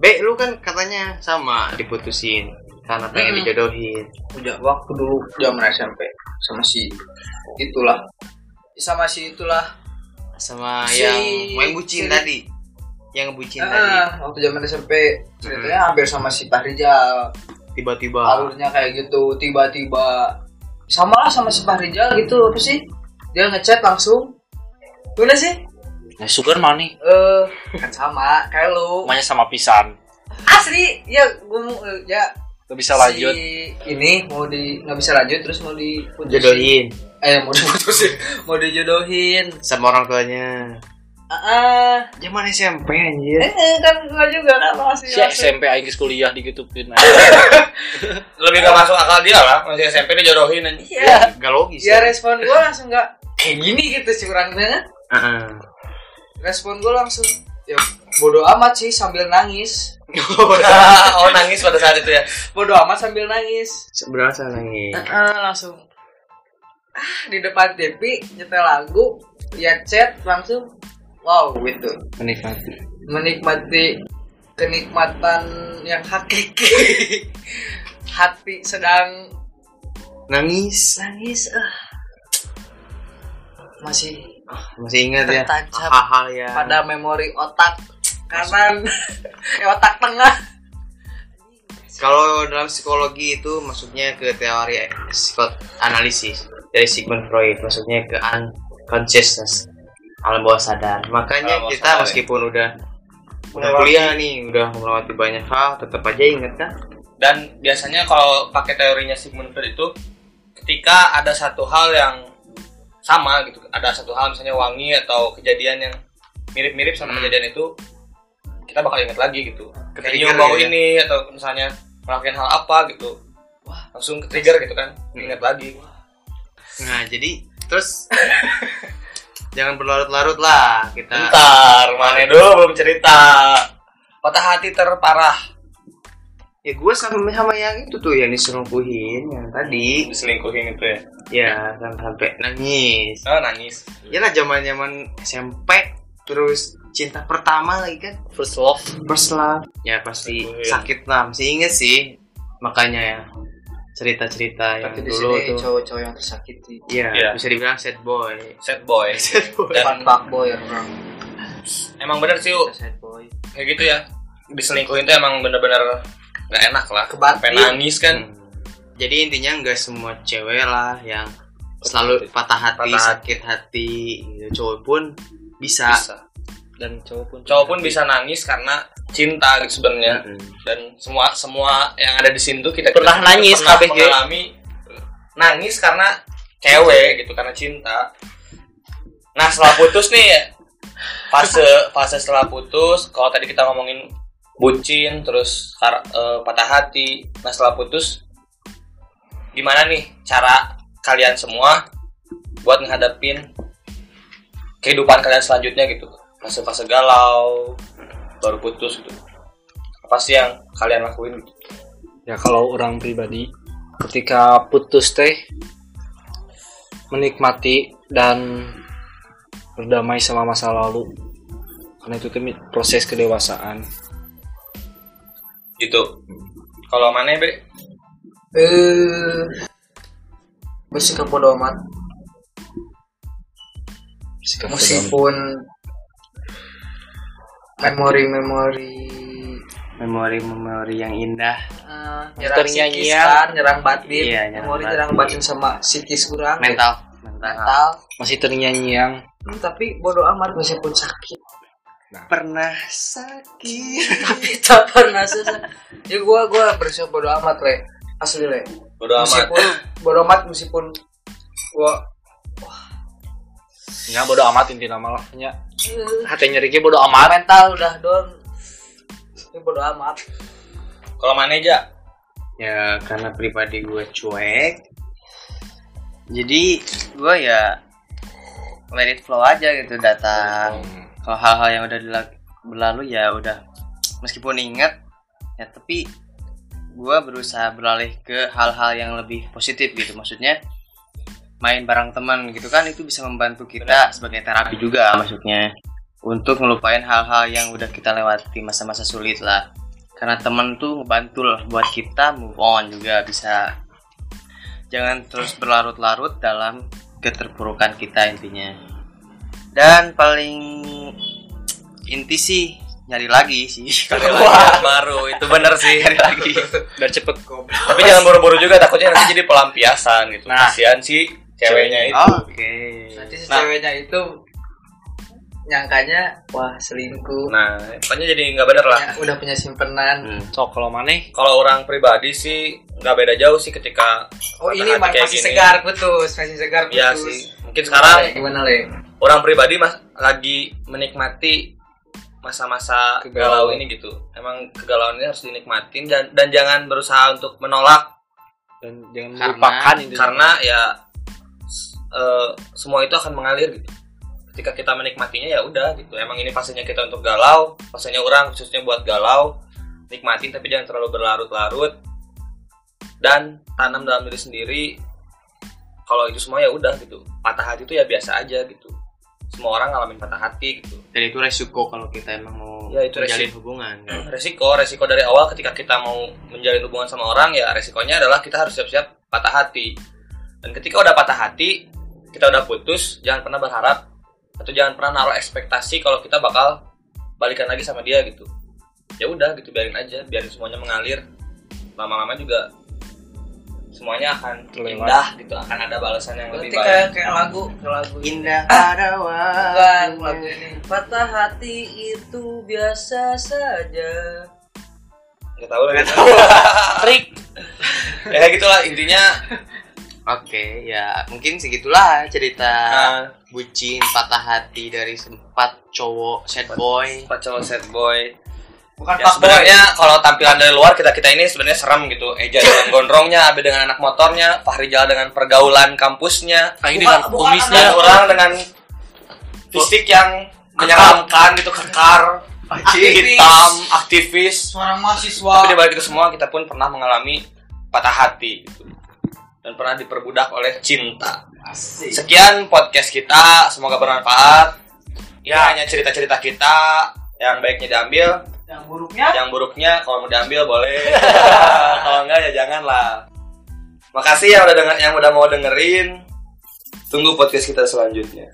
Be, lu kan katanya sama diputusin karena pengen dijodohin. udah waktu dulu zaman SMP sama si itulah sama si itulah Sama Si- yang main si- bucin tadi. Yang bucin tadi. Ah, waktu zaman SMP ceritanya hampir sama si Pak Rijal Tiba-tiba alurnya kayak gitu tiba-tiba sama lah sama si Pak Rijal gitu apa sih dia ngechat langsung Udah sih. Nah, sugar mana? Eh, kan sama kayak lu. Pokoknya sama pisan. Asli, ya gua mau eh, ya Gak bisa lanjut. Si ini mau di nggak bisa lanjut terus mau diputusin. jodohin Eh, mau diputusin. mau dijodohin. sama orang tuanya Ah, ah. zaman SMP anjir eh, eh, kan gua juga kan masih iya, Si masih. SMP aing geus kuliah digitukeun. Lebih gak masuk akal dia lah, masih SMP dia jodohin aja. Iya. gak logis Ya respon gua langsung nggak kayak gini gitu sih kurangnya. Heeh. Respon gua langsung ya bodoh amat sih sambil nangis. oh nangis pada saat itu ya. Bodoh amat sambil nangis. berasa nangis Heeh, langsung ah di depan TV nyetel lagu lihat chat langsung wow gitu Menikmati. menikmati kenikmatan yang hakiki hati sedang nangis nangis ah. masih masih ingat ya Tertancap. hal-hal yang pada memori otak kanan eh, otak tengah Kalau dalam psikologi itu maksudnya ke teori psikoanalisis dari Sigmund Freud, maksudnya ke unconsciousness, alam bawah sadar. Makanya Alam bawah kita sadar, ya. meskipun udah udah Melewati. kuliah nih, udah melewati banyak hal, tetap aja inget kan? Dan biasanya kalau pakai teorinya Sigmund Freud itu ketika ada satu hal yang sama gitu, ada satu hal misalnya wangi atau kejadian yang mirip-mirip sama Hmm. kejadian itu kita bakal ingat lagi gitu. Ketrigger Ketika bau ya. ini atau misalnya melakukan hal apa gitu. Wah, langsung ke trigger gitu kan. Ingat lagi. Nah jadi terus jangan berlarut-larut lah kita. Nah. Bentar, mana dulu belum cerita. Patah hati terparah Ya gue sama sama yang itu tuh yang diselingkuhin yang tadi, diselingkuhin itu ya. ya sampai sampai nangis. Oh, nangis. Yalah zaman zaman SMP terus cinta pertama lagi kan First love. first love ya pasti Betul, ya. sakit lah masih inget sih makanya ya cerita cerita yang tapi di dulu sini tuh cowok-cowok yang tersakiti Iya, Iya. bisa dibilang sad boy Sad boy. sad boy Dan pak boy yang orang emang bener sih U. sad boy kayak gitu ya. Diselingkuhin tuh emang bener-bener nggak enak lah. Kebatin. Sampai nangis kan. Hmm. jadi intinya nggak semua cewek lah yang selalu patah hati Patah hati. sakit hati gitu. cowok pun bisa, Bisa. Dan cowok pun. Cowok pun bisa nangis karena cinta gitu sebenarnya. Mm-mm. Dan semua semua yang ada di sini tuh kita Pernah kita nangis, pernah kabeh, Ge. mengalami nangis karena cewek gitu karena cinta. Nah setelah putus nih fase fase setelah putus kalau tadi kita ngomongin bucin terus kar- eh, patah hati nah setelah putus gimana nih cara kalian semua buat menghadapin kehidupan kalian selanjutnya gitu fase fase galau baru putus gitu apa sih yang kalian lakuin gitu Ya kalau orang pribadi ketika putus teh menikmati dan berdamai sama masa lalu karena itu teh proses kedewasaan gitu kalau mana be Eh, gue suka bodo amat. sikap Meskipun memori-memori memori memori yang indah eh, nyerang Faktor psikis nyanyian. kan, nyerang batin, Iya, nyerang memori batin. nyerang batin sama psikis kurang, mental mental mental. masih ternyanyi yang Hmm, tapi bodo amat meskipun sakit. pernah sakit Tapi tak pernah selesai. Ya gue gue bersyukur bodo amat le, asli le. bodo amat Meskipun bodo amat meskipun gue ya bodo amat inti nama lah nya hati nyeri ge bodo amat mental udah down. Ya bodo amat. kalau mana aja ya karena pribadi gue cuek jadi gue ya let it flow aja gitu datang kalau hal-hal yang udah dilak- berlalu ya udah meskipun ingat ya tapi gue berusaha beralih ke hal-hal yang lebih positif gitu maksudnya main bareng teman gitu kan itu bisa membantu kita sebagai terapi juga maksudnya untuk ngelupain hal-hal yang udah kita lewati masa-masa sulit lah karena teman tuh ngebantu lah buat kita move on juga bisa jangan terus berlarut-larut dalam keterpurukan kita intinya dan paling inti sih nyari lagi sih Kali kalau lagi yang baru itu bener sih nyari lagi biar cepet goblok tapi jangan buru-buru juga takutnya nanti jadi pelampiasan gitu Nah. kasihan si ceweknya itu oke Nanti si Iya. Nah. ceweknya itu nyangkanya wah selingkuh nah pokoknya jadi nggak bener lah Ya, udah punya simpenan Hmm. Sok kalau maneh kalau orang pribadi sih nggak beda jauh sih ketika oh patah ini hati ma- kayak masih gini. segar putus masih segar putus ya sih mungkin sekarang gimana le orang pribadi mas lagi menikmati masa-masa Kegalauan. galau ini gitu emang kegalauan ini harus dinikmatin dan dan jangan berusaha untuk menolak dan jangan Karena- melupakan itu. karena ya s- eh, semua itu akan mengalir gitu ketika kita menikmatinya ya udah gitu emang ini fasenya kita untuk galau fasenya orang khususnya buat galau nikmatin tapi jangan terlalu berlarut-larut dan tanam dalam diri sendiri kalau itu semua ya udah gitu patah hati itu ya biasa aja gitu semua orang ngalamin patah hati gitu Dan itu resiko kalau kita emang mau Ya, itu menjalin resiko. hubungan. kan. resiko resiko dari awal ketika kita mau menjalin hubungan sama orang ya resikonya adalah kita harus siap-siap patah hati dan ketika udah patah hati kita udah putus jangan pernah berharap atau jangan pernah naruh ekspektasi kalau kita bakal balikan lagi sama dia gitu ya udah gitu biarin aja biarin semuanya mengalir lama-lama juga semuanya akan Terlewat. indah gitu akan ada balasan yang lebih berarti baik kayak kayak lagu kayak lagu Ah, Indah pada Bukan, lagu waktu. ini patah hati itu biasa saja nggak tahu lagi trik ya kayak gitulah intinya Oke, ya mungkin segitulah cerita nah, bucin patah hati dari sempat cowok sad boy. pacar set boy bukan Ya, sebenarnya kalau tampilan dari luar kita kita ini sebenarnya serem gitu. Eja dengan gondrongnya, Abe dengan anak motornya, Fahri Jal dengan pergaulan kampusnya, Aing Bukan- dengan bukan kumisnya dan orang dengan fisik yang menyeramkan gitu, kekar, hitam, aktivis. Tapi seorang di mahasiswa balik itu semua kita pun pernah mengalami patah hati gitu. dan pernah diperbudak oleh cinta. Asik. Sekian podcast kita, semoga bermanfaat. Ya, hanya cerita-cerita kita yang baiknya diambil, yang buruknya yang buruknya kalau mau diambil boleh kalau enggak ya jangan lah makasih yang udah denger yang udah mau dengerin tunggu podcast kita selanjutnya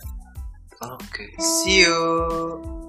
oke see you